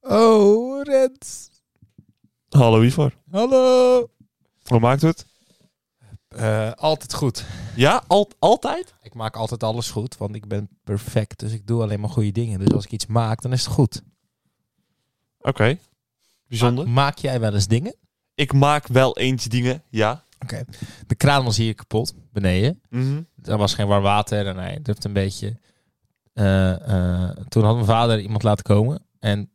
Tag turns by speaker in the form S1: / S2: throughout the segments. S1: Oh, Rens.
S2: Hallo Ivar.
S1: Hallo.
S2: Hoe maakt het?
S1: Eh, altijd goed.
S2: Ja, al- altijd?
S1: Ik maak altijd alles goed, want ik ben perfect. Dus ik doe alleen maar goede dingen. Dus als ik iets maak, dan is het goed.
S2: Oké. Bijzonder.
S1: Ma- maak jij wel eens dingen?
S2: Ah, Ik maak wel eens dingen, ja.
S1: De kraan was hier kapot, beneden.
S2: Mhm.
S1: Er was geen warm water en hij drupt een beetje. Eh, eh, toen had mijn vader iemand laten komen. En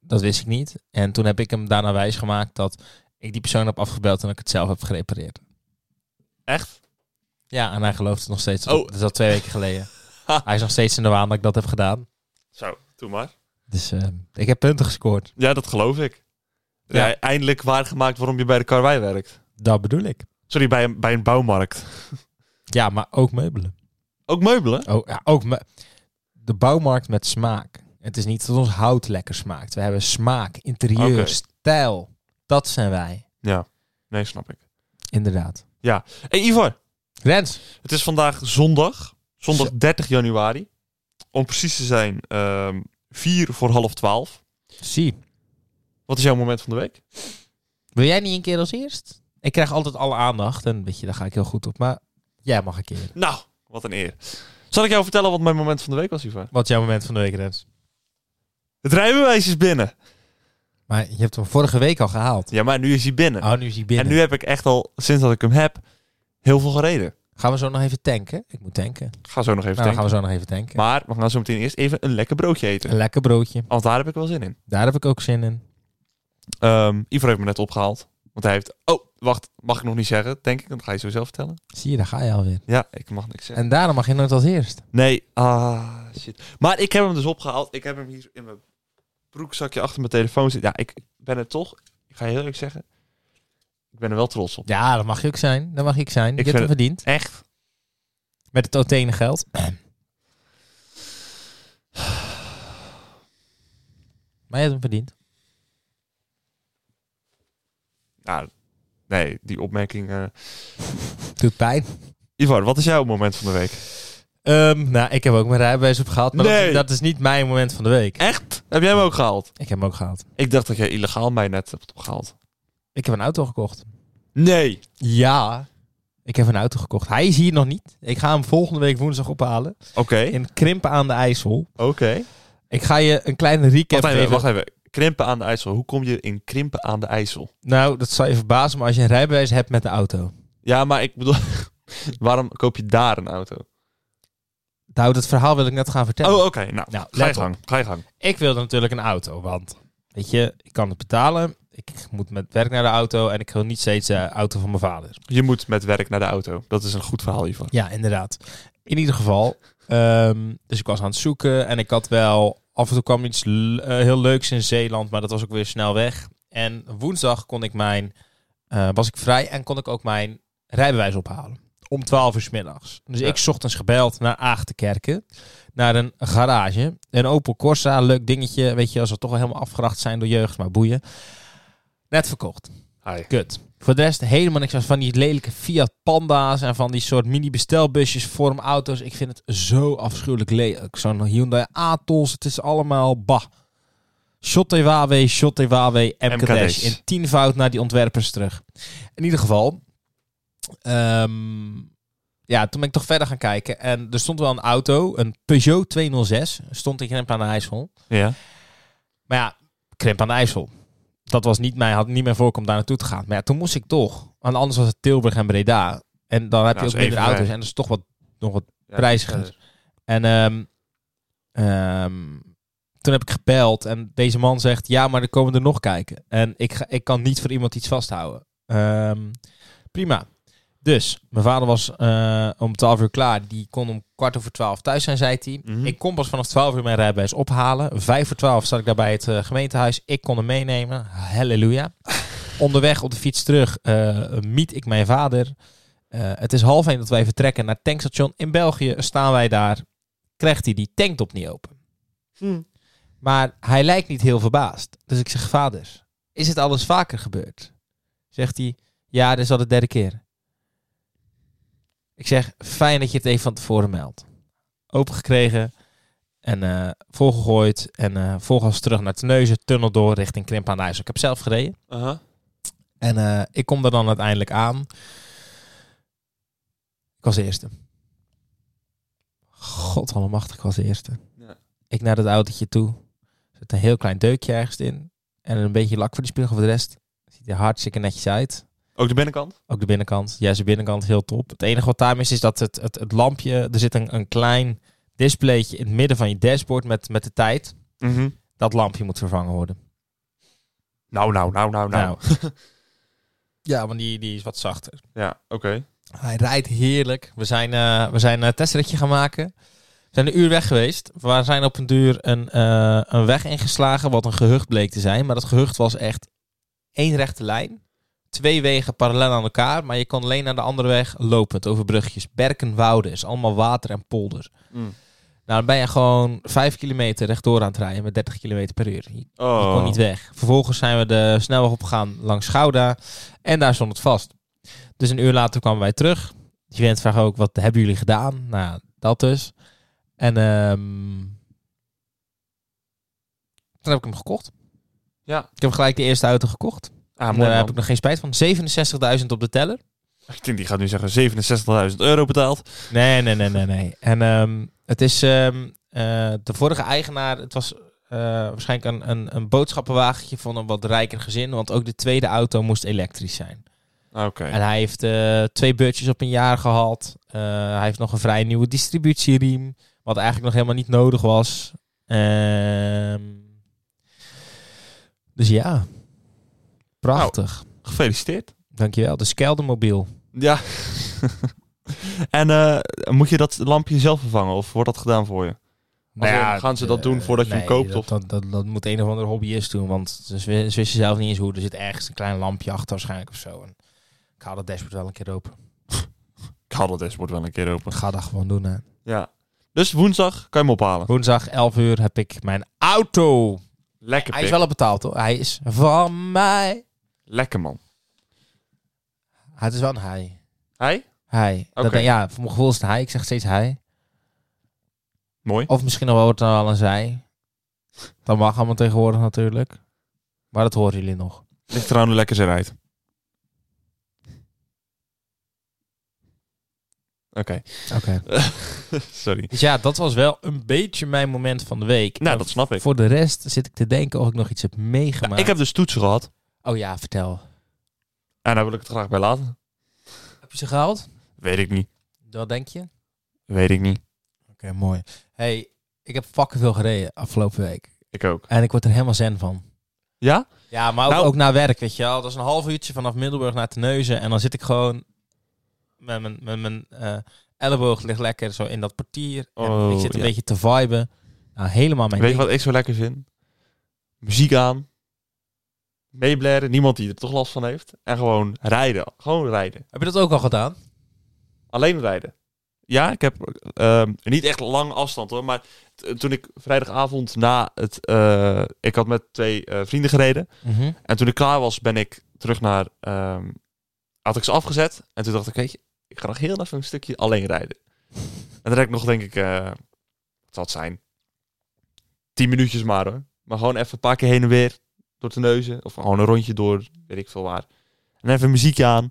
S1: dat wist ik niet. En toen heb ik hem daarna wijsgemaakt dat ik die persoon heb afgebeld en dat ik het zelf heb gerepareerd.
S2: Echt?
S1: Ja, en hij gelooft het nog steeds.
S2: Oh.
S1: Dat is al twee weken geleden. hij is nog steeds in de waan dat ik dat heb gedaan.
S2: Zo, doe maar.
S1: Dus eh, ik heb punten gescoord.
S2: Ja, dat geloof ik. Ja.
S1: Ja.
S2: eindelijk waargemaakt waarom je bij de karwei werkt.
S1: Dat bedoel ik.
S2: Sorry, bij een, bij een bouwmarkt.
S1: Ja, maar ook meubelen.
S2: Ook meubelen?
S1: Oh, ja, ook me de bouwmarkt met smaak. Het is niet dat ons hout lekker smaakt. We hebben smaak, interieur,
S2: Oké.
S1: stijl. Dat zijn wij.
S2: Ja. Nee, snap ik.
S1: Inderdaad.
S2: hey, Ivar.
S1: Rens.
S2: Het is vandaag zondag. Zondag
S1: Zo.
S2: 30 januari. Om precies te zijn, ehm vier voor half twaalf.
S1: Zie.
S2: Wat is jouw moment van de week?
S1: Wil jij niet een keer als eerst? Ik krijg altijd alle aandacht. En weet je, daar ga ik heel goed op. Maar jij mag een keer.
S2: Nou, wat een eer. Zal ik jou vertellen wat mijn moment van de week was, Ivar?
S1: Wat is jouw moment van de week, Rens?
S2: Het rijbewijs is binnen.
S1: Maar je hebt hem vorige week al gehaald.
S2: Ja, maar nu is hij binnen.
S1: Oh, nu is hij binnen.
S2: En nu heb ik echt al, sinds dat ik hem heb, heel veel gereden.
S1: Gaan we zo nog even tanken? Ik moet tanken.
S2: Ik ga zo nog even
S1: nou, dan
S2: denken.
S1: gaan we zo nog even tanken.
S2: Maar we gaan zo meteen eerst even een lekker broodje eten.
S1: Een lekker broodje.
S2: Want daar heb ik wel zin in.
S1: Daar heb ik ook zin in.
S2: Ehm Ivar heeft me net opgehaald. Want hij heeft... Oh, wacht. Mag ik nog niet zeggen, denk ik. Dat ga je zo zelf vertellen.
S1: Zie je, daar ga je alweer.
S2: Ja, ik mag niks zeggen.
S1: En daarom mag je nooit als eerst.
S2: Nee. Ah, shit. Maar ik heb hem dus opgehaald. Ik heb hem hier in mijn broekzakje achter mijn telefoon zitten. Ja, ik ben het toch. Ik ga je heel eerlijk zeggen. Ik ben er wel trots op.
S1: Ja, dat mag je ook zijn. Dat mag ik zijn. je
S2: Ik
S1: hebt hem
S2: vind
S1: verdiend.
S2: Echt.
S1: Met het totene geld. Maar je hebt hem verdiend.
S2: Nou, nee, die opmerking... eh.
S1: Doet pijn.
S2: Ivar, wat is jouw moment van de week?
S1: Ehm, nou, ik heb ook mijn rijbewijs opgehaald. Maar
S2: Nee.
S1: dat, dat is niet mijn moment van de week.
S2: Echt? Heb jij hem ook gehaald?
S1: Ik heb hem ook gehaald.
S2: Ik dacht dat jij illegaal mij net hebt opgehaald.
S1: Ik heb een auto gekocht.
S2: Nee.
S1: Ja. Ik heb een auto gekocht. Hij is hier nog niet. Ik ga hem volgende week woensdag ophalen.
S2: Oké.
S1: In Krimpen aan de IJssel.
S2: Oké.
S1: Ik ga je een kleine recap
S2: Wacht even,
S1: geven.
S2: wacht even. Krimpen aan de IJssel. Hoe kom je in Krimpen aan de IJssel?
S1: Nou, dat zal je verbazen. Maar als je een rijbewijs hebt met de auto.
S2: Ja, maar ik bedoel... waarom koop je daar een auto?
S1: Nou, dat verhaal wil ik net gaan vertellen.
S2: Oh, oké. Nou,
S1: Nou,
S2: ga je
S1: let op.
S2: gang. Ga je gang.
S1: Ik wilde natuurlijk een auto, want weet je, ik kan het betalen. Ik moet met werk naar de auto en ik wil niet steeds de auto van mijn vader.
S2: Je moet met werk naar de auto. Dat is een goed verhaal, Ivar.
S1: Ja, inderdaad. In ieder geval, ehm, dus ik was aan het zoeken en ik had wel, af en toe kwam iets l- eh, heel leuks in Zeeland, maar dat was ook weer snel weg. En woensdag kon ik mijn, eh, was ik vrij en kon ik ook mijn rijbewijs ophalen. Om 12 uur 's middags. Dus
S2: Ja.
S1: ik 's ochtends gebeld naar Aagtekerken. Naar een garage. Een Opel Corsa. Leuk dingetje. Weet je, als we toch wel helemaal afgeracht zijn door jeugd. Maar boeien. Net verkocht.
S2: Hi.
S1: Kut. Voor de rest helemaal niks van die lelijke Fiat Panda's en van die soort mini-bestelbusjes, vormauto's. Ik vind het zo afschuwelijk lelijk. Zo'n Hyundai Atos, het is allemaal bah. Shotte Huawei, Shotte Huawei, MKD's.
S2: MKD's.
S1: In tienvoud naar die ontwerpers terug. In ieder geval, ehm, ja, toen ben ik toch verder gaan kijken. En er stond wel een auto, een Peugeot 206, stond in Rempa aan de IJssel.
S2: Ja.
S1: Maar ja, krimp aan de IJssel. Dat was niet mij, had niet mijn voorkom daar naartoe te gaan. Maar ja, toen moest ik toch. Want anders was het Tilburg en Breda. En dan heb
S2: Nou,
S1: je
S2: is
S1: ook minder
S2: even
S1: auto's.
S2: ver.
S1: En dat is toch wat, nog wat.
S2: ja
S1: Prijziger. En ehm, ehm, toen heb ik gebeld. En deze man zegt, ja, maar dan komen we er nog kijken. En ik, ga, ik kan niet voor iemand iets vasthouden. Ehm, prima. Dus, mijn vader was eh, om 12 uur klaar. Die kon om kwart over twaalf thuis zijn, zei hij.
S2: Mhm.
S1: eh, Ik kon pas vanaf 12 uur mijn rijbewijs ophalen. Vijf voor 12 zat ik daar bij het eh, gemeentehuis. Ik kon hem meenemen. Halleluja. Onderweg op de fiets terug eh meet ik mijn vader. Eh, het is half één dat wij vertrekken naar het tankstation in België. Staan wij daar. Krijgt hij die tanktop niet open.
S2: Hm.
S1: Maar hij lijkt niet heel verbaasd. Dus ik zeg, vader, is het alles vaker gebeurd? Zegt hij, ja, dit is al de derde keer. Ik zeg, fijn dat je het even van tevoren meldt. opengekregen. En eh, volgegooid. En eh volgens terug naar Terneuzen. Tunnel door richting Krimp aan de IJssel. Ik heb zelf gereden.
S2: Aha.
S1: En eh, ik kom er dan uiteindelijk aan. Ik was de eerste. God allemachtig, ik was de eerste.
S2: Ja.
S1: Ik naar dat autootje toe. Er zit een heel klein deukje ergens in. En een beetje lak voor de spiegel. Voor de rest ziet er hartstikke netjes uit.
S2: Ook de binnenkant?
S1: Ook de binnenkant. Juist de binnenkant heel top. Het enige wat daar mis is dat het, het, het lampje... Er zit een, een klein displaytje in het midden van je dashboard met, met de tijd.
S2: Mhm.
S1: Dat lampje moet vervangen worden.
S2: Nou, nou, nou, nou, nou.
S1: ja, want die, die is wat zachter.
S2: Ja, oké.
S1: Hij rijdt heerlijk. We zijn, eh, we zijn een testritje gaan maken. We zijn een uur weg geweest. We zijn op een duur een, eh, een weg ingeslagen, wat een gehucht bleek te zijn. Maar dat gehucht was echt één rechte lijn. Twee wegen parallel aan elkaar, maar je kon alleen naar de andere weg lopend over brugjes. Berken, wouden, is allemaal water en polders.
S2: Mm.
S1: Nou, dan ben je gewoon vijf kilometer rechtdoor aan het rijden met 30 kilometer per uur. Je
S2: Oh.
S1: je kon niet weg. Vervolgens zijn we de snelweg opgegaan langs Gouda. En daar stond het vast. Dus een uur later kwamen wij terug. Die vent vraagt ook, wat hebben jullie gedaan? Nou, ja, dat dus. En ehm, toen heb ik hem gekocht.
S2: Ja.
S1: Ik heb gelijk de eerste auto gekocht.
S2: Ah,
S1: en
S2: mooi
S1: daar heb
S2: man.
S1: ik nog geen spijt van. 67.000 op de teller.
S2: Ik denk, die gaat nu zeggen 67.000 euro betaald.
S1: Nee, nee, nee, nee, nee. En ehm, het is ehm, eh, de vorige eigenaar. Het was eh, waarschijnlijk een, een, een boodschappenwagentje van een wat rijker gezin. Want ook de tweede auto moest elektrisch zijn.
S2: Ah, Oké.
S1: En hij heeft eh, twee budgetjes op een jaar gehad. Eh, hij heeft nog een vrij nieuwe distributieriem. Wat eigenlijk nog helemaal niet nodig was. Ehm, dus ja. Prachtig.
S2: Nou. Gefeliciteerd.
S1: Dankjewel. De Skeldermobiel.
S2: Ja. en eh, moet je dat lampje zelf vervangen of wordt dat gedaan voor je?
S1: Nou
S2: Of, eh, gaan ze dat
S1: eh,
S2: doen voordat je hem
S1: nee,
S2: koopt,
S1: Dat,
S2: of?
S1: dat, dat, dat moet een of andere hobbyist doen, want ze, wi- ze wisten zelf niet eens hoe. Er zit ergens een klein lampje achter waarschijnlijk of zo. En ik haal dat dashboard wel een keer open.
S2: Ik had dat dashboard wel een keer open.
S1: Ik ga dat gewoon doen. Hè.
S2: Ja. Dus woensdag kan je hem ophalen.
S1: Woensdag 11 uur heb ik mijn auto.
S2: Lekker
S1: Hij is
S2: pik.
S1: wel al betaald hoor. Hij is van mij.
S2: Lekker man.
S1: Het is wel een hij.
S2: Hij?
S1: Hij. Dat
S2: Oké.
S1: denk- ja, voor mijn gevoel is het hij. Ik zeg steeds hij.
S2: Mooi.
S1: Of misschien al wordt het dan wel een zij. Dat mag allemaal tegenwoordig natuurlijk. Maar dat horen jullie nog.
S2: Ligt eraan hoe lekker ze rijdt. Oké.
S1: Oké.
S2: Sorry.
S1: Dus ja, dat was wel een beetje mijn moment van de week.
S2: Nou,
S1: En
S2: dat snap ik.
S1: Voor de rest zit ik te denken of ik nog iets heb meegemaakt.
S2: Ik heb dus toetsen gehad.
S1: Oh ja, vertel.
S2: En daar wil ik het graag bij laten.
S1: Heb je ze gehaald?
S2: Weet ik niet.
S1: Dat denk je? Oké,
S2: Weet ik niet.
S1: mooi. hey, ik heb fucking veel gereden afgelopen week.
S2: Ik ook.
S1: En ik word er helemaal zen van.
S2: Ja?
S1: Ja, maar ook,
S2: Nou-
S1: ook naar werk, weet je wel. Dat is een half uurtje vanaf Middelburg naar Terneuzen. En dan zit ik gewoon met mijn, met mijn eh, elleboog ligt lekker zo in dat portier. en
S2: Oh,
S1: ik zit een
S2: ja.
S1: beetje te viben. Nou, helemaal mijn
S2: Weet je
S1: ding.
S2: wat ik zo lekker vind? Muziek aan. Meeblaren. Niemand die er toch last van heeft. En gewoon rijden. Gewoon rijden.
S1: Heb je dat ook al gedaan?
S2: Alleen rijden. Ja, ik heb ehm, niet echt lang afstand hoor. Maar t- toen ik vrijdagavond na het... eh, ik had met twee eh, vrienden gereden.
S1: Mhm.
S2: En toen ik klaar was, ben ik terug naar... ehm, had ik ze afgezet. En toen dacht ik, weet je, ik ga nog heel even een stukje alleen rijden. En dan rijd ik nog, denk ik, eh, wat zal het zijn? Tien minuutjes maar hoor. Maar gewoon even een paar keer heen en weer. Door de neuzen. Of gewoon een rondje door, weet ik veel waar. En even muziekje aan.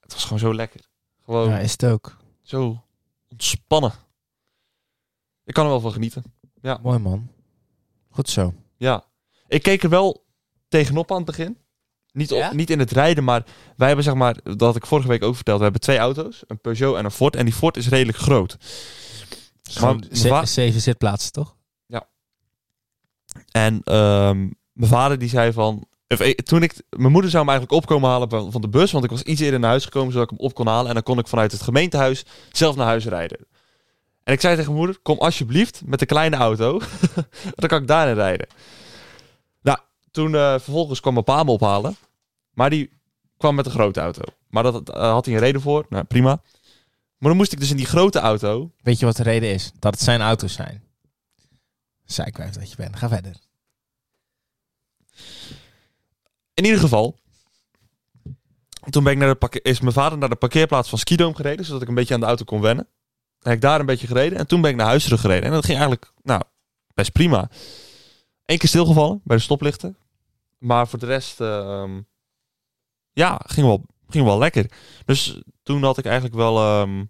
S2: Het was gewoon zo lekker. Gewoon
S1: Ja, is het ook.
S2: zo ontspannen. Ik kan er wel van genieten.
S1: Mooi man. Goed zo.
S2: Ja. Ik keek er wel tegenop aan het begin. Niet, op,
S1: Ja?
S2: niet in het rijden, maar wij hebben zeg maar, dat had ik vorige week ook verteld, we hebben twee auto's, een Peugeot en een Ford. En die Ford is redelijk groot.
S1: Gewoon
S2: mijn va-
S1: ze- zeven zitplaatsen, toch?
S2: En ehm, mijn vader die zei van, of, eh, toen ik, mijn moeder zou hem eigenlijk opkomen halen van van de bus, want ik was iets eerder naar huis gekomen zodat ik hem op kon halen. En dan kon ik vanuit het gemeentehuis zelf naar huis rijden. En ik zei tegen mijn moeder, kom alsjeblieft met de kleine auto, want dan kan ik daarin rijden. Nou, toen eh, vervolgens kwam mijn pa me ophalen, maar die kwam met een grote auto. Maar dat eh, had hij een reden voor, nou prima. Maar dan moest ik dus in die grote auto
S1: Weet je wat de reden is? Dat het zijn auto's zijn. Zijkwijf dat je bent. Ga verder.
S2: In ieder geval. Toen ben ik naar de parke- is mijn vader naar de parkeerplaats van Skidoom gereden, zodat ik een beetje aan de auto kon wennen. heb ik daar een beetje gereden. En toen ben ik naar huis teruggereden. En dat ging eigenlijk nou, best prima. Eén keer stilgevallen bij de stoplichten. Maar voor de rest, ehm, ja, ging wel, ging wel lekker. Dus toen had ik eigenlijk wel, ehm,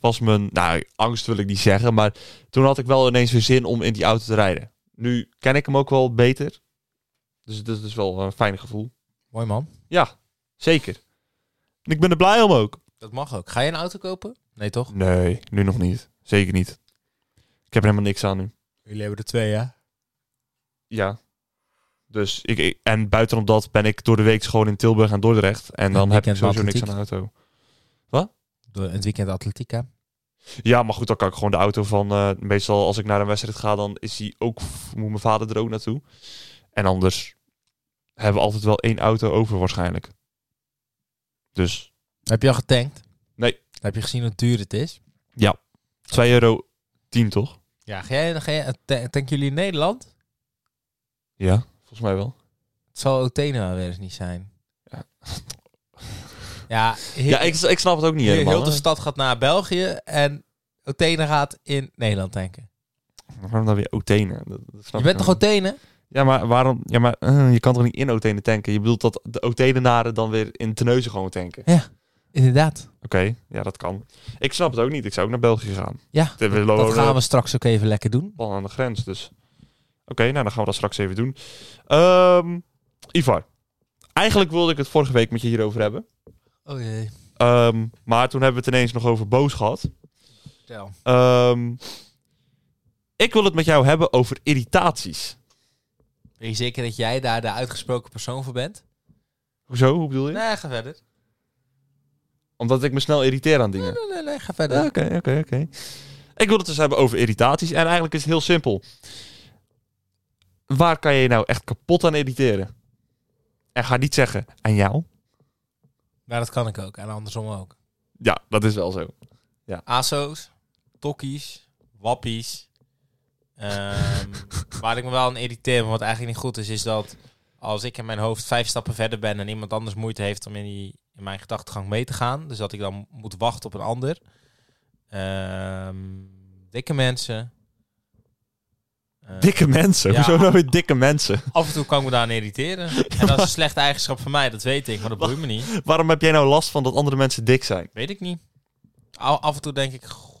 S2: was mijn, nou, angst wil ik niet zeggen. Maar toen had ik wel ineens weer zin om in die auto te rijden. Nu ken ik hem ook wel beter. Dus dat is wel een fijn gevoel.
S1: Mooi man.
S2: Zeker. En ik ben er blij om ook.
S1: Dat mag ook. Ga je een auto kopen? Nee, toch?
S2: Nee, nu nog niet. Zeker niet. Ik heb er helemaal niks aan nu.
S1: Jullie hebben er twee, ja?
S2: Ja. Dus ik, ik- en buitenom dat ben ik door de week gewoon in Tilburg en Dordrecht. En dan
S1: Ja,
S2: heb ik
S1: weekend
S2: sowieso niks aan
S1: atletiek.
S2: de auto.
S1: Door het weekend Atletica.
S2: Ja, maar goed, dan kan ik gewoon de auto van... eh, meestal als ik naar een wedstrijd ga, dan is die ook, moet mijn vader er ook naartoe. En anders hebben we altijd wel één auto over waarschijnlijk. Dus
S1: Heb je al getankt?
S2: Nee.
S1: Heb je gezien hoe duur het is?
S2: 2,10 euro toch?
S1: Ja, ga jij, ga jij, ta- tanken jullie in Nederland?
S2: Ja, volgens mij wel.
S1: Het zal Otena wel eens niet zijn. Ja, ja, heel,
S2: Ja, ik, ik snap het ook niet
S1: heel- heel
S2: helemaal.
S1: de
S2: hè.
S1: stad gaat naar België en Otena gaat in Nederland tanken.
S2: Waarom dan weer Otene? Dat, dat snap
S1: Je
S2: ik
S1: bent toch
S2: helemaal
S1: Otene?
S2: Ja, maar waarom? Ja, maar eh, je kan toch niet in Otene tanken? Je bedoelt dat de Otenenaren dan weer in Teneuzen gewoon tanken?
S1: Inderdaad.
S2: Oké, ja, dat kan. Ik snap het ook niet. Ik zou ook naar België gaan.
S1: Ja,
S2: we
S1: Dat
S2: wonen
S1: gaan we straks ook even lekker doen.
S2: wel aan de grens, dus... Oké, nou, dan gaan we dat straks even doen. Ehm, Ivar, eigenlijk wilde ik het vorige week met je hierover hebben.
S1: Oh jee.
S2: Ehm, maar toen hebben we het ineens nog over boos gehad. Ehm, ik wil het met jou hebben over irritaties.
S1: Ben je zeker dat jij daar de uitgesproken persoon voor bent?
S2: Hoezo? Hoe bedoel je?
S1: Nee, ga verder.
S2: Omdat ik me snel irriteer aan dingen.
S1: Nee, nee, nee, ga
S2: Ja,
S1: verder.
S2: Oké, oké, oké. Ik wil het dus hebben over irritaties. En eigenlijk is het heel simpel. Waar kan je je nou echt kapot aan irriteren? En ga niet zeggen, aan jou?
S1: Maar Nou, dat kan ik ook. En andersom ook.
S2: Ja, dat is wel zo.
S1: ASO's, tokkies, wappies. Ehm, waar ik me wel aan irriteer, maar wat eigenlijk niet goed is, is dat als ik in mijn hoofd vijf stappen verder ben en iemand anders moeite heeft om in, die, in mijn gedachtegang mee te gaan, dus dat ik dan moet wachten op een ander. Ehm, dikke mensen. Eh,
S2: Dikke mensen.
S1: Ja.
S2: Hoezo nou weer dikke mensen?
S1: Af en toe kan ik me daaraan irriteren. En dat is een slechte eigenschap van mij, dat weet ik, maar dat boeit me niet.
S2: Waarom heb jij nou last van dat andere mensen dik zijn?
S1: Weet ik niet. Au- af en toe denk ik... goh.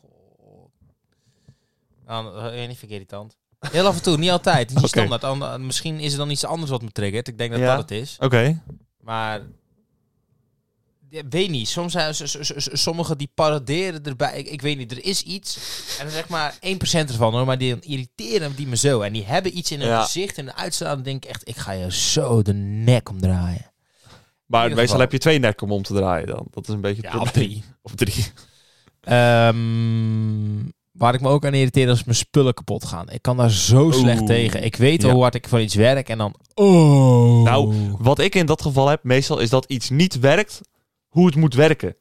S1: Nou, eh, weet niet, vind ik irritant. Heel af en toe, niet altijd. Niet
S2: Oké.
S1: standaard. Ander- misschien is er dan iets anders wat me triggert. Ik denk dat
S2: Ja.
S1: dat het is.
S2: Oké.
S1: Maar... ja, weet niet. Soms zijn s- s- s- sommigen die paraderen erbij. Ik, ik weet niet, er is iets. En dan zeg maar 1% ervan hoor. Maar die dan irriteren die me zo. En die hebben iets in hun
S2: Ja.
S1: gezicht en de uitstraling. Dan denk ik echt, ik ga je zo de nek omdraaien.
S2: Maar
S1: ieder geval.
S2: meestal heb je twee nekken om om te draaien dan. Dat is een beetje het
S1: Ja, of
S2: probleem.
S1: drie.
S2: Of drie.
S1: Ehm, waar ik me ook aan irriteer is mijn spullen kapot gaan. Ik kan daar zo slecht tegen. Ik weet
S2: Ja.
S1: hoe hard ik voor iets werk en dan... Oh.
S2: Nou, Wat ik in dat geval heb, meestal is dat iets niet werkt hoe het moet werken.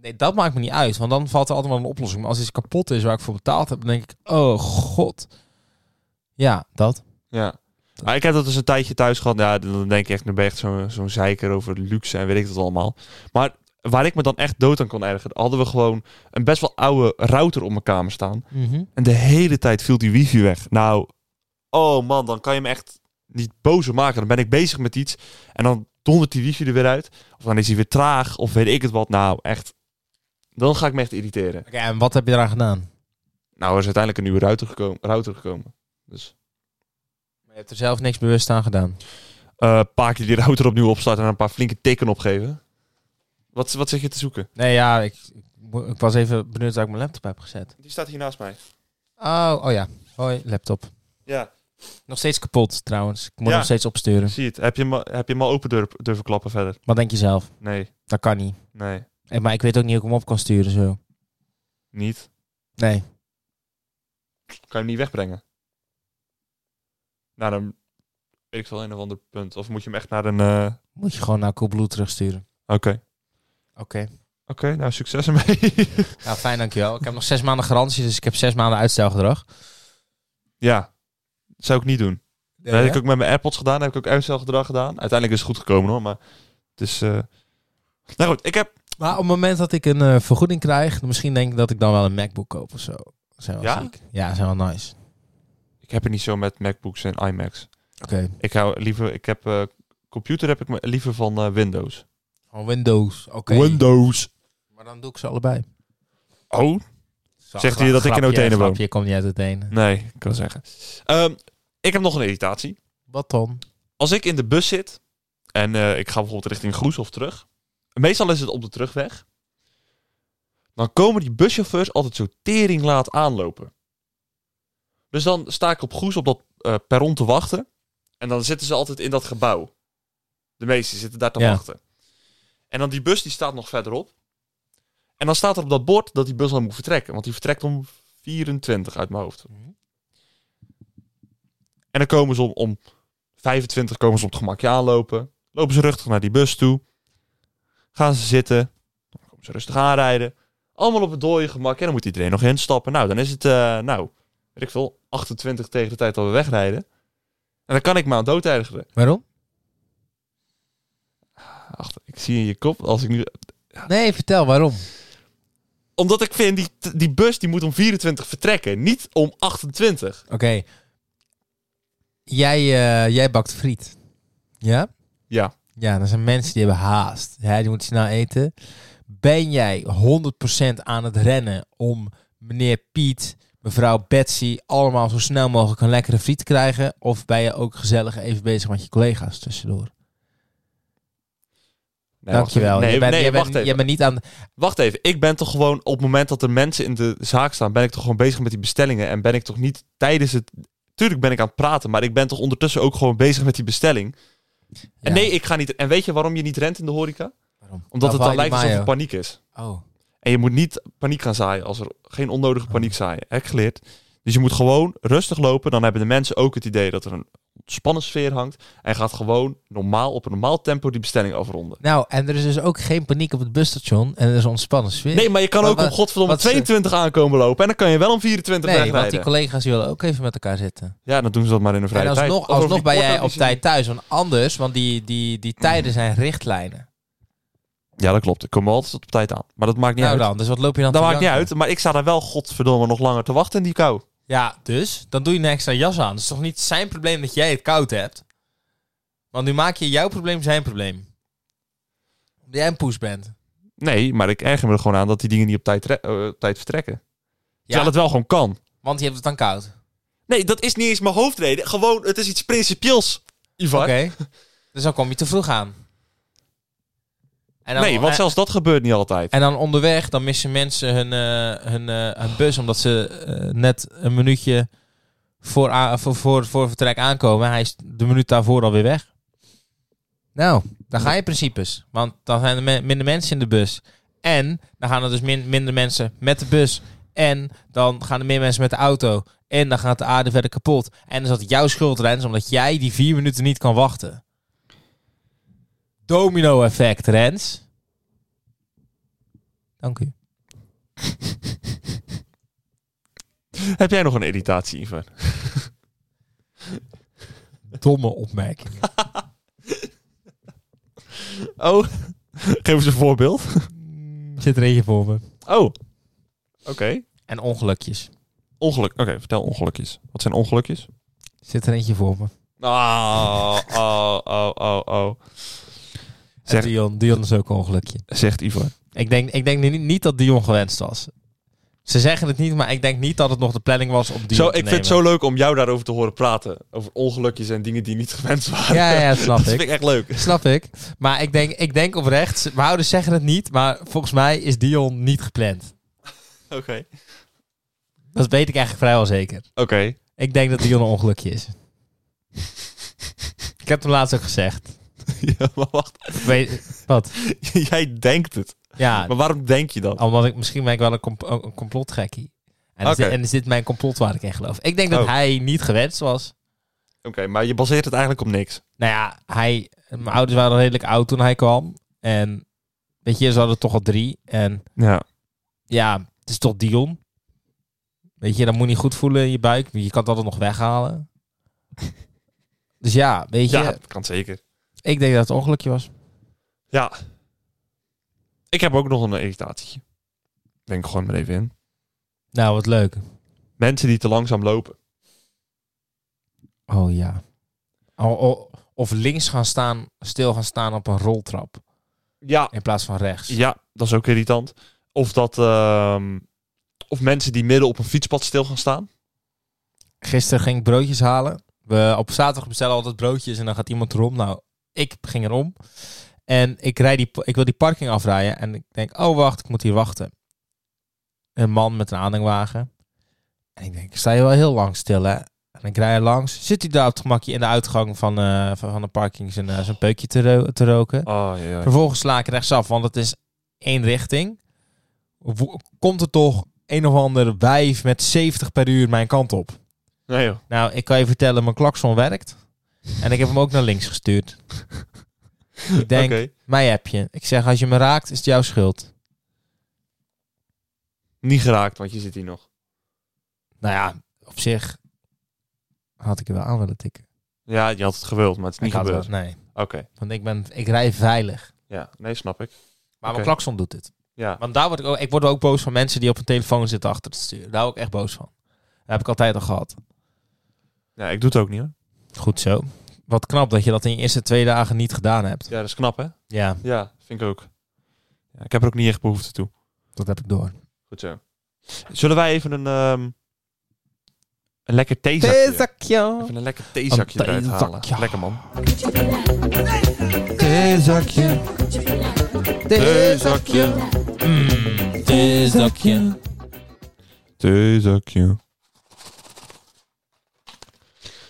S1: Nee, dat maakt me niet uit, want dan valt er altijd wel een oplossing. Maar als iets kapot is waar ik voor betaald heb, dan denk ik... Oh, god. Ja, dat.
S2: Ja. Maar ik heb dat dus een tijdje thuis gehad. Ja, dan denk ik echt, nu ben je echt zo'n zo'n zeiker over luxe en weet ik dat allemaal. Maar waar ik me dan echt dood aan kon ergeren, hadden we gewoon een best wel oude router op mijn kamer staan. En de hele tijd viel die wifi weg. Nou, oh man, dan kan je me echt niet boos om maken. Dan ben ik bezig met iets en dan dondert die wifi er weer uit. Of dan is hij weer traag of weet ik het wat. Nou, echt. Dan ga ik me echt irriteren.
S1: Oké, en wat heb je eraan gedaan?
S2: Nou, er is uiteindelijk een nieuwe router gekomen. Router gekomen. Dus
S1: Je hebt er zelf niks bewust aan gedaan.
S2: Eh, een paar keer die router opnieuw opstarten en een paar flinke tikken opgeven. Wat, wat zeg je te zoeken?
S1: Nee, ja, ik, ik, mo- ik was even benieuwd dat ik mijn laptop heb gezet.
S2: Die staat hier naast mij.
S1: Oh, oh ja. Hoi, laptop.
S2: Ja,
S1: Nog steeds kapot, trouwens. Ik moet
S2: Ja.
S1: nog steeds opsturen.
S2: zie het. Heb je hem, al- heb je hem al open durf- durven klappen verder?
S1: Wat denk je zelf?
S2: Nee,
S1: Dat kan niet.
S2: nee,
S1: Eh, Maar ik weet ook niet hoe ik hem op kan sturen zo.
S2: niet.
S1: Nee.
S2: Kan je hem niet wegbrengen? Naar een, weet ik veel, een of ander punt. Of moet je hem echt naar een... eh, Oké,
S1: Moet je gewoon naar Coolblue terugsturen.
S2: oké.
S1: Oké.
S2: nou succes ermee.
S1: Nou, fijn, dankjewel. Ik heb nog zes maanden garantie, dus ik heb zes maanden uitstelgedrag.
S2: ja, dat zou ik niet doen.
S1: Ja,
S2: dat heb ik ook met mijn AirPods gedaan. Dat heb ik ook uitstelgedrag gedaan. Uiteindelijk is het goed gekomen hoor, maar het is... eh, Nou goed, ik heb
S1: Maar op het moment dat ik een eh, vergoeding krijg, misschien denk ik dat ik dan wel een MacBook koop of zo. Zijn wel
S2: Ja?
S1: ziek. Ja, zijn wel nice.
S2: Ik heb het niet zo met MacBooks en iMacs.
S1: Oké.
S2: Ik hou liever, ik heb eh, computer heb ik me- liever van eh, Windows.
S1: Oh, Windows. Oké.
S2: Windows.
S1: Maar dan doe ik ze allebei.
S2: Oh, Zegt hij
S1: hij
S2: dat ik in Oudene woon?
S1: Je komt niet uit Oudene.
S2: nee, ik kan zeggen. Ehm, ik heb nog een irritatie.
S1: Wat dan?
S2: Als ik in de bus zit en eh, ik ga bijvoorbeeld richting Groes of terug. Meestal is het op de terugweg. Dan komen die buschauffeurs altijd zo tering laat aanlopen. Dus dan sta ik op Groes op dat eh, perron te wachten. En dan zitten ze altijd in dat gebouw. De meesten zitten daar te
S1: Ja.
S2: wachten. En dan die bus die staat nog verderop. En dan staat er op dat bord dat die bus dan moet vertrekken. Want die vertrekt om 24 uit mijn hoofd. En dan komen ze om, om 25 komen ze op het gemakje aanlopen. Lopen ze rustig naar die bus toe. Gaan ze zitten. Dan komen ze rustig aanrijden. Allemaal op het dode gemak. En dan moet iedereen nog instappen. Nou, dan is het, eh, nou, weet ik veel, 28 tegen de tijd dat we wegrijden. En dan kan ik me aan dood ergeren.
S1: Waarom?
S2: Ach, ik zie in je kop als ik nu...
S1: Nee, vertel waarom.
S2: Omdat ik vind, die, die bus die moet om 24 vertrekken. Niet om 28.
S1: Oké. Jij, eh, jij bakt friet. Ja?
S2: Ja.
S1: Ja, dat zijn mensen die hebben haast. Ja, die moeten snel eten. Ben jij 100% aan het rennen om meneer Piet, mevrouw Betsy, allemaal zo snel mogelijk een lekkere friet te krijgen? Of ben je ook gezellig even bezig met je collega's tussendoor?
S2: Nee, wacht
S1: Dankjewel.
S2: even. Nee,
S1: je bent,
S2: nee,
S1: je
S2: wacht
S1: bent,
S2: even.
S1: Je bent niet aan...
S2: Wacht even, ik ben toch gewoon op het moment dat er mensen in de zaak staan, ben ik toch gewoon bezig met die bestellingen en ben ik toch niet tijdens het. Tuurlijk ben ik aan het praten, maar ik ben toch ondertussen ook gewoon bezig met die bestelling. En
S1: Ja.
S2: nee, ik ga niet. En weet je waarom je niet rent in de horeca?
S1: Waarom?
S2: Omdat het dan
S1: Hawaii
S2: lijkt alsof er
S1: mayo.
S2: paniek is.
S1: Oh,
S2: En je moet niet paniek gaan zaaien als er geen onnodige paniek
S1: Oh.
S2: zaaien. Heb ik geleerd. Dus je moet gewoon rustig lopen. Dan hebben de mensen ook het idee dat er een ontspannen sfeer hangt. En gaat gewoon normaal op een normaal tempo die bestelling afronden.
S1: Nou, en er is dus ook geen paniek op het busstation en er is een ontspannen sfeer.
S2: Nee, maar je kan
S1: Maar
S2: ook om
S1: wat-
S2: godverdomme
S1: wat ze-
S2: 22 aankomen lopen. En dan kan je wel om 24
S1: Nee,
S2: wegrijden.
S1: want die collega's die willen ook even met elkaar zitten.
S2: Ja, dan doen ze dat maar in een vrije
S1: en
S2: tijd.
S1: alsnog,
S2: Of over
S1: alsnog
S2: die
S1: ben jij op
S2: korte-
S1: tijd thuis, want anders, want die, die, die tijden zijn richtlijnen.
S2: Ja, dat klopt. Ik kom altijd op tijd aan. Maar dat maakt niet
S1: nou
S2: uit.
S1: dan, dus wat loop je dan
S2: Dat
S1: te
S2: maakt niet
S1: janken?
S2: uit. Maar ik sta daar wel godverdomme nog langer te wachten in die kou.
S1: Ja, dus, dan doe je een extra jas aan. Het is toch niet zijn probleem dat jij het koud hebt? Want nu maak je jouw probleem zijn probleem. Omdat jij een poes bent.
S2: Nee, maar ik erger me er gewoon aan dat die dingen niet op tijd, tre- eh, op tijd vertrekken. Terwijl
S1: Ja,
S2: het wel gewoon kan.
S1: want je hebt het dan koud.
S2: Nee, dat is niet eens mijn hoofdreden. Gewoon, het is iets principieels, Ivar.
S1: Oké, dus dan kom je te vroeg aan. En dan- Eh,
S2: nee, want
S1: en-
S2: zelfs dat gebeurt niet altijd.
S1: En dan onderweg, dan missen mensen hun, eh, hun, eh, hun bus omdat ze eh, net een minuutje voor, a- voor, voor, voor vertrek aankomen. Hij is de minuut daarvoor alweer weg. Nou, dan ga je principes. Want dan zijn er me- minder mensen in de bus. En dan gaan er dus min- minder mensen met de bus. En dan gaan er meer mensen met de auto. En dan gaat de aarde verder kapot. En dan is dat jouw schuld, Rens, omdat jij die vier minuten niet kan wachten. Domino-effect, Rens. Dank u. eh.
S2: Heb jij nog een irritatie, Ivar?
S1: domme opmerkingen.
S2: Oh, geef eens een voorbeeld.
S1: Zit er eentje voor me.
S2: Oh, oké.
S1: En ongelukjes.
S2: Ongeluk. Oké, vertel ongelukjes. Wat zijn ongelukjes?
S1: Zit er eentje voor me.
S2: Oh, oh, oh, oh, oh. Zeg-
S1: En Dion, Dion is ook een ongelukje.
S2: Zegt Ivar.
S1: Ik denk, ik denk niet, niet dat Dion gewenst was. Ze zeggen het niet, maar ik denk niet dat het nog de planning was om Dion
S2: Zo, ik
S1: te
S2: vind het
S1: nemen.
S2: zo leuk om jou daarover te horen praten. Over ongelukjes en dingen die niet gewenst waren.
S1: Ja, ja, snap
S2: dat vind
S1: ik.
S2: ik echt leuk.
S1: Snap ik. Maar ik denk, ik denk oprecht, ze- mijn ouders zeggen het niet, maar volgens mij is Dion niet gepland.
S2: Oké. Oké.
S1: Dat weet ik eigenlijk vrijwel zeker. Ik denk dat Dion een ongelukje is. ik heb het hem laatst ook gezegd.
S2: Ja, maar wacht.
S1: Ik Weet, wat?
S2: Jij denkt het.
S1: Ja,
S2: Maar waarom denk je dat?
S1: Omdat ik misschien ben ik wel een, comp ook een complotgekkie. En, is
S2: Oké.
S1: dit, en is dit mijn complot waar ik in geloof? Ik denk dat
S2: Oh.
S1: hij niet gewenst was.
S2: Oké, maar je baseert het eigenlijk op niks.
S1: Nou ja, hij, mijn ouders waren al redelijk oud toen hij kwam. En weet je, ze hadden toch al drie. En
S2: Ja.
S1: ja, het is toch Dion. Weet je, dat moet niet goed voelen in je buik. Je kan het altijd nog weghalen. dus ja, weet je,
S2: Ja, dat kan zeker.
S1: ik denk dat het een ongelukje was.
S2: Ja. Ik heb ook nog een irritatietje. Denk ik gewoon maar even in.
S1: Nou, wat leuk.
S2: Mensen die te langzaam lopen.
S1: Oh ja. O- o- of links gaan staan, stil gaan staan op een roltrap.
S2: Ja,
S1: In plaats van rechts.
S2: ja dat is ook irritant. Of dat... ehm, of mensen die midden op een fietspad stil gaan staan.
S1: Gisteren ging ik broodjes halen. We, op zaterdag bestellen we altijd broodjes en dan gaat iemand erom. Nou, ik ging erom. En ik, rijd die, ik wil die parking afrijden. En ik denk, oh wacht, ik moet hier wachten. Een man met een aanhangwagen. En ik denk, ik sta hier wel heel lang stil hè. En ik rij er langs. Zit hij daar op het gemakje in de uitgang van, eh, van, van de parking zijn, eh, zijn peukje te, ro- te roken.
S2: Oh, ja, ja.
S1: Vervolgens sla ik rechtsaf, want het is één richting. Wo- Komt er toch een of ander wijf met 70 per uur mijn kant op?
S2: Nee joh.
S1: Nou, ik kan je vertellen, mijn klakson werkt. En ik heb hem ook naar links gestuurd. ik denk,
S2: Oké.
S1: mij heb je. Ik zeg, als je me raakt, is het jouw schuld.
S2: Niet geraakt, want je zit hier nog.
S1: Nou ja, op zich had ik er wel aan willen tikken.
S2: Ja, je had het gewild, maar het is niet
S1: ik had
S2: gebeurd.
S1: wel- nee,
S2: Oké.
S1: want ik, ben, ik rij veilig.
S2: Ja, nee, snap ik.
S1: Maar
S2: Oké.
S1: mijn klakson doet het.
S2: Ja.
S1: Want daar word ik ook, ik word ook boos van mensen die op hun telefoon zitten achter het stuur. Daar word ik echt boos van. Dat heb ik altijd al gehad.
S2: ja, ik doe het ook niet hoor.
S1: Goed zo. Wat knap dat je dat in je eerste twee dagen niet gedaan hebt.
S2: Ja, dat is knap hè?
S1: Ja,
S2: Ja, vind ik ook. Ja, ik heb er ook niet echt behoefte toe.
S1: dat heb ik door.
S2: Goed zo. Zullen wij even een, ehm, een lekker theezakje...
S1: Theezakje.
S2: Even een lekker theezakje
S1: Een
S2: eruit halen.
S1: theezakje.
S2: Lekker man.
S1: Theezakje.
S2: Theezakje.
S1: Hmm, Theezakje.
S2: Theezakje.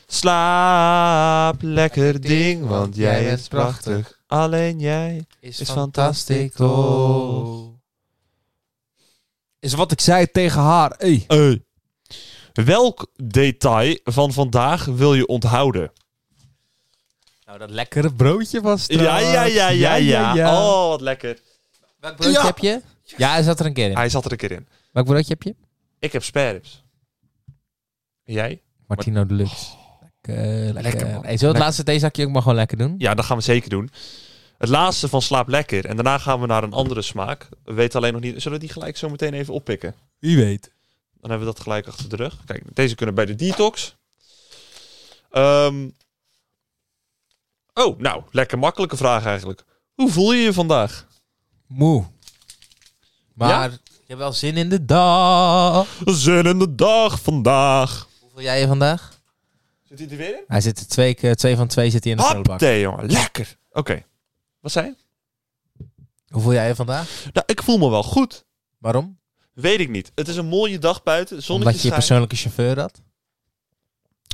S2: Slaap, lekker ding, want jij is prachtig. Alleen jij is fantastisch toch.
S1: Is wat ik zei tegen haar. Hey.
S2: Hey. Welk detail van vandaag wil je onthouden?
S1: Nou, dat lekkere broodje was het.
S2: Ja, ja, ja, ja, ja, Oh, wat lekker.
S1: Welk broodje
S2: Ja.
S1: heb je? Ja, hij zat er een keer in.
S2: Hij zat er een keer in.
S1: Welk broodje heb je?
S2: Ik heb spare ribs. En jij?
S1: Martino Deluxe. Lekker,
S2: Lekker,
S1: lekker.
S2: man.
S1: Hey, zullen we het laatste theezakje ook maar gewoon lekker doen?
S2: Ja, dat gaan we zeker doen. Het laatste van slaap lekker. En daarna gaan we naar een andere smaak. We weten alleen nog niet. Zullen we die gelijk zo meteen even oppikken?
S1: Wie weet.
S2: Dan hebben we dat gelijk achter de rug. Kijk, deze kunnen bij de detox. Ehm. Oh, nou, lekker makkelijke vraag eigenlijk. Hoe voel je je vandaag?
S1: Moe. Maar ik heb wel zin in de dag.
S2: Zin in de dag vandaag.
S1: Hoe voel jij je vandaag?
S2: Zit hij er weer in?
S1: Hij zit er twee, keer, twee van twee zit hij in de prullenbak.
S2: Hapte, jongen. Lekker. Oké. Wat zei je?
S1: Hoe voel jij je vandaag?
S2: Nou, ik voel me wel goed.
S1: Waarom?
S2: Weet ik niet. Het is een mooie dag buiten. Zonnetje
S1: Omdat je je
S2: schijnt.
S1: persoonlijke chauffeur had?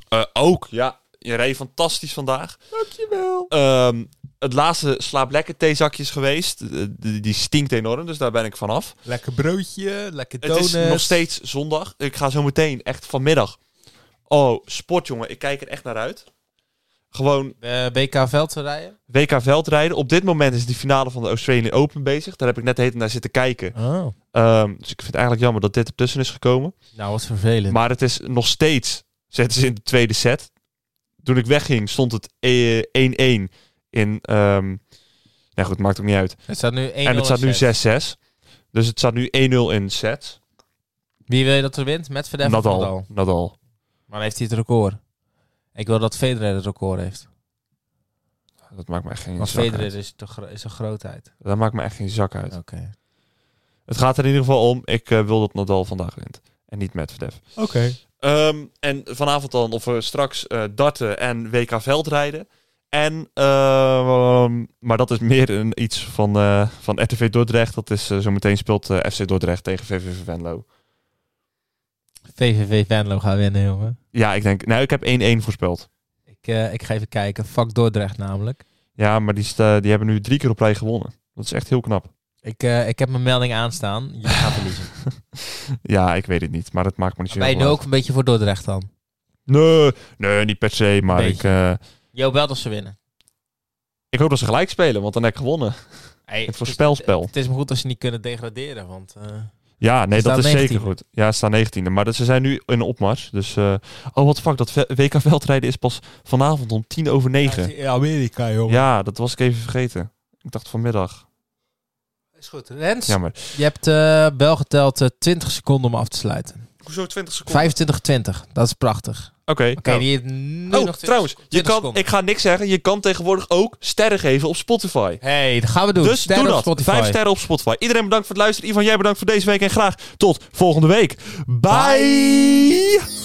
S2: Eh, ook, ja. Je reed fantastisch vandaag.
S1: Dankjewel.
S2: Ehm, het laatste slaap lekker theezakje is geweest. Eh, die, die stinkt enorm, dus daar ben ik vanaf.
S1: Lekker broodje, lekker
S2: Het
S1: donuts.
S2: is nog steeds zondag. Ik ga zo meteen, echt vanmiddag. Oh, sport, jongen. Ik kijk er echt naar uit. Gewoon
S1: Eh, BK Veldrijden.
S2: WK veldrijden. Op dit moment is de finale van de Australian Open bezig. Daar heb ik net de hele tijd naar zitten kijken.
S1: Oh.
S2: Ehm, dus ik vind het eigenlijk jammer dat dit ertussen is gekomen.
S1: Nou, wat vervelend.
S2: Maar het is nog steeds, zetten ze in de tweede set. Toen ik wegging stond het eh, 1-1 in... ehm nou goed, maakt ook niet uit.
S1: het staat nu 1
S2: en het staat nu 6-6. Dus het staat nu 1-0 in sets.
S1: Wie wil je dat er wint? Met Verdef of
S2: Nadal.
S1: Nadal?
S2: Nadal.
S1: Maar dan heeft hij het record. Ik wil dat Federer het record heeft.
S2: Dat maakt me echt geen
S1: Want
S2: zak uit.
S1: Federer is, de gro- is een grootheid.
S2: Dat maakt me echt geen zak uit.
S1: Oké.
S2: Het gaat er in ieder geval om. Ik eh, wil dat Nadal vandaag wint. En niet Medvedev.
S1: Oké.
S2: Ehm, en vanavond dan, of eh, straks, eh, darten en WK veldrijden. En, ehm, maar dat is meer een, iets van, eh, van RTV Dordrecht. Dat is eh, zometeen speelt eh, FC Dordrecht tegen VVV Venlo.
S1: VVV Venlo gaat winnen, jongen.
S2: Ja, ik denk, nou, ik heb 1-1 voorspeld.
S1: Ik, eh, ik ga even kijken. Fuck Dordrecht namelijk.
S2: Ja, maar die, sta- die hebben nu drie keer op rij gewonnen. Dat is echt heel knap.
S1: Ik, eh, ik heb mijn melding aanstaan. Je gaat verliezen.
S2: Ja, ik weet het niet, maar dat maakt me niet zo
S1: ben je nu
S2: heel
S1: ook een beetje voor Dordrecht dan?
S2: veel uit. Nee, nee, niet per se, maar ik,
S1: Beetje.
S2: eh,
S1: Jo, belt als ze winnen.
S2: ik hoop dat ze gelijk spelen, want dan heb ik gewonnen.
S1: Hey,
S2: Het voorspelspel.
S1: Het, is maar goed als ze niet kunnen degraderen, want... eh,
S2: Ja, nee,
S1: Ze
S2: dat is
S1: staan
S2: zeker
S1: 19e.
S2: goed. Ja, ze staan 19e. Maar dat- ze zijn nu in opmars. Dus, eh, oh, wat fuck. Dat ve- WK veldrijden is pas vanavond om tien over negen.
S1: In Amerika, joh.
S2: Ja, dat was ik even vergeten. Ik dacht vanmiddag.
S1: Is goed. Rens,
S2: Jammer.
S1: je hebt eh, wel geteld eh, 20 seconden om af te sluiten.
S2: Hoezo 20 seconden?
S1: 25-20, dat is prachtig.
S2: Oké.
S1: Oké,
S2: nou.
S1: die heeft nu nog
S2: Oh,
S1: 20
S2: trouwens, je
S1: 20
S2: kan,
S1: seconden.
S2: ik ga niks zeggen. Je kan tegenwoordig ook sterren geven op Spotify.
S1: hey, dat gaan we doen.
S2: Dus
S1: Sterren
S2: doe
S1: op
S2: dat.
S1: Spotify.
S2: Vijf sterren op Spotify. Iedereen bedankt voor het luisteren. Ivan, jij bedankt voor deze week. En graag tot volgende week. Bye.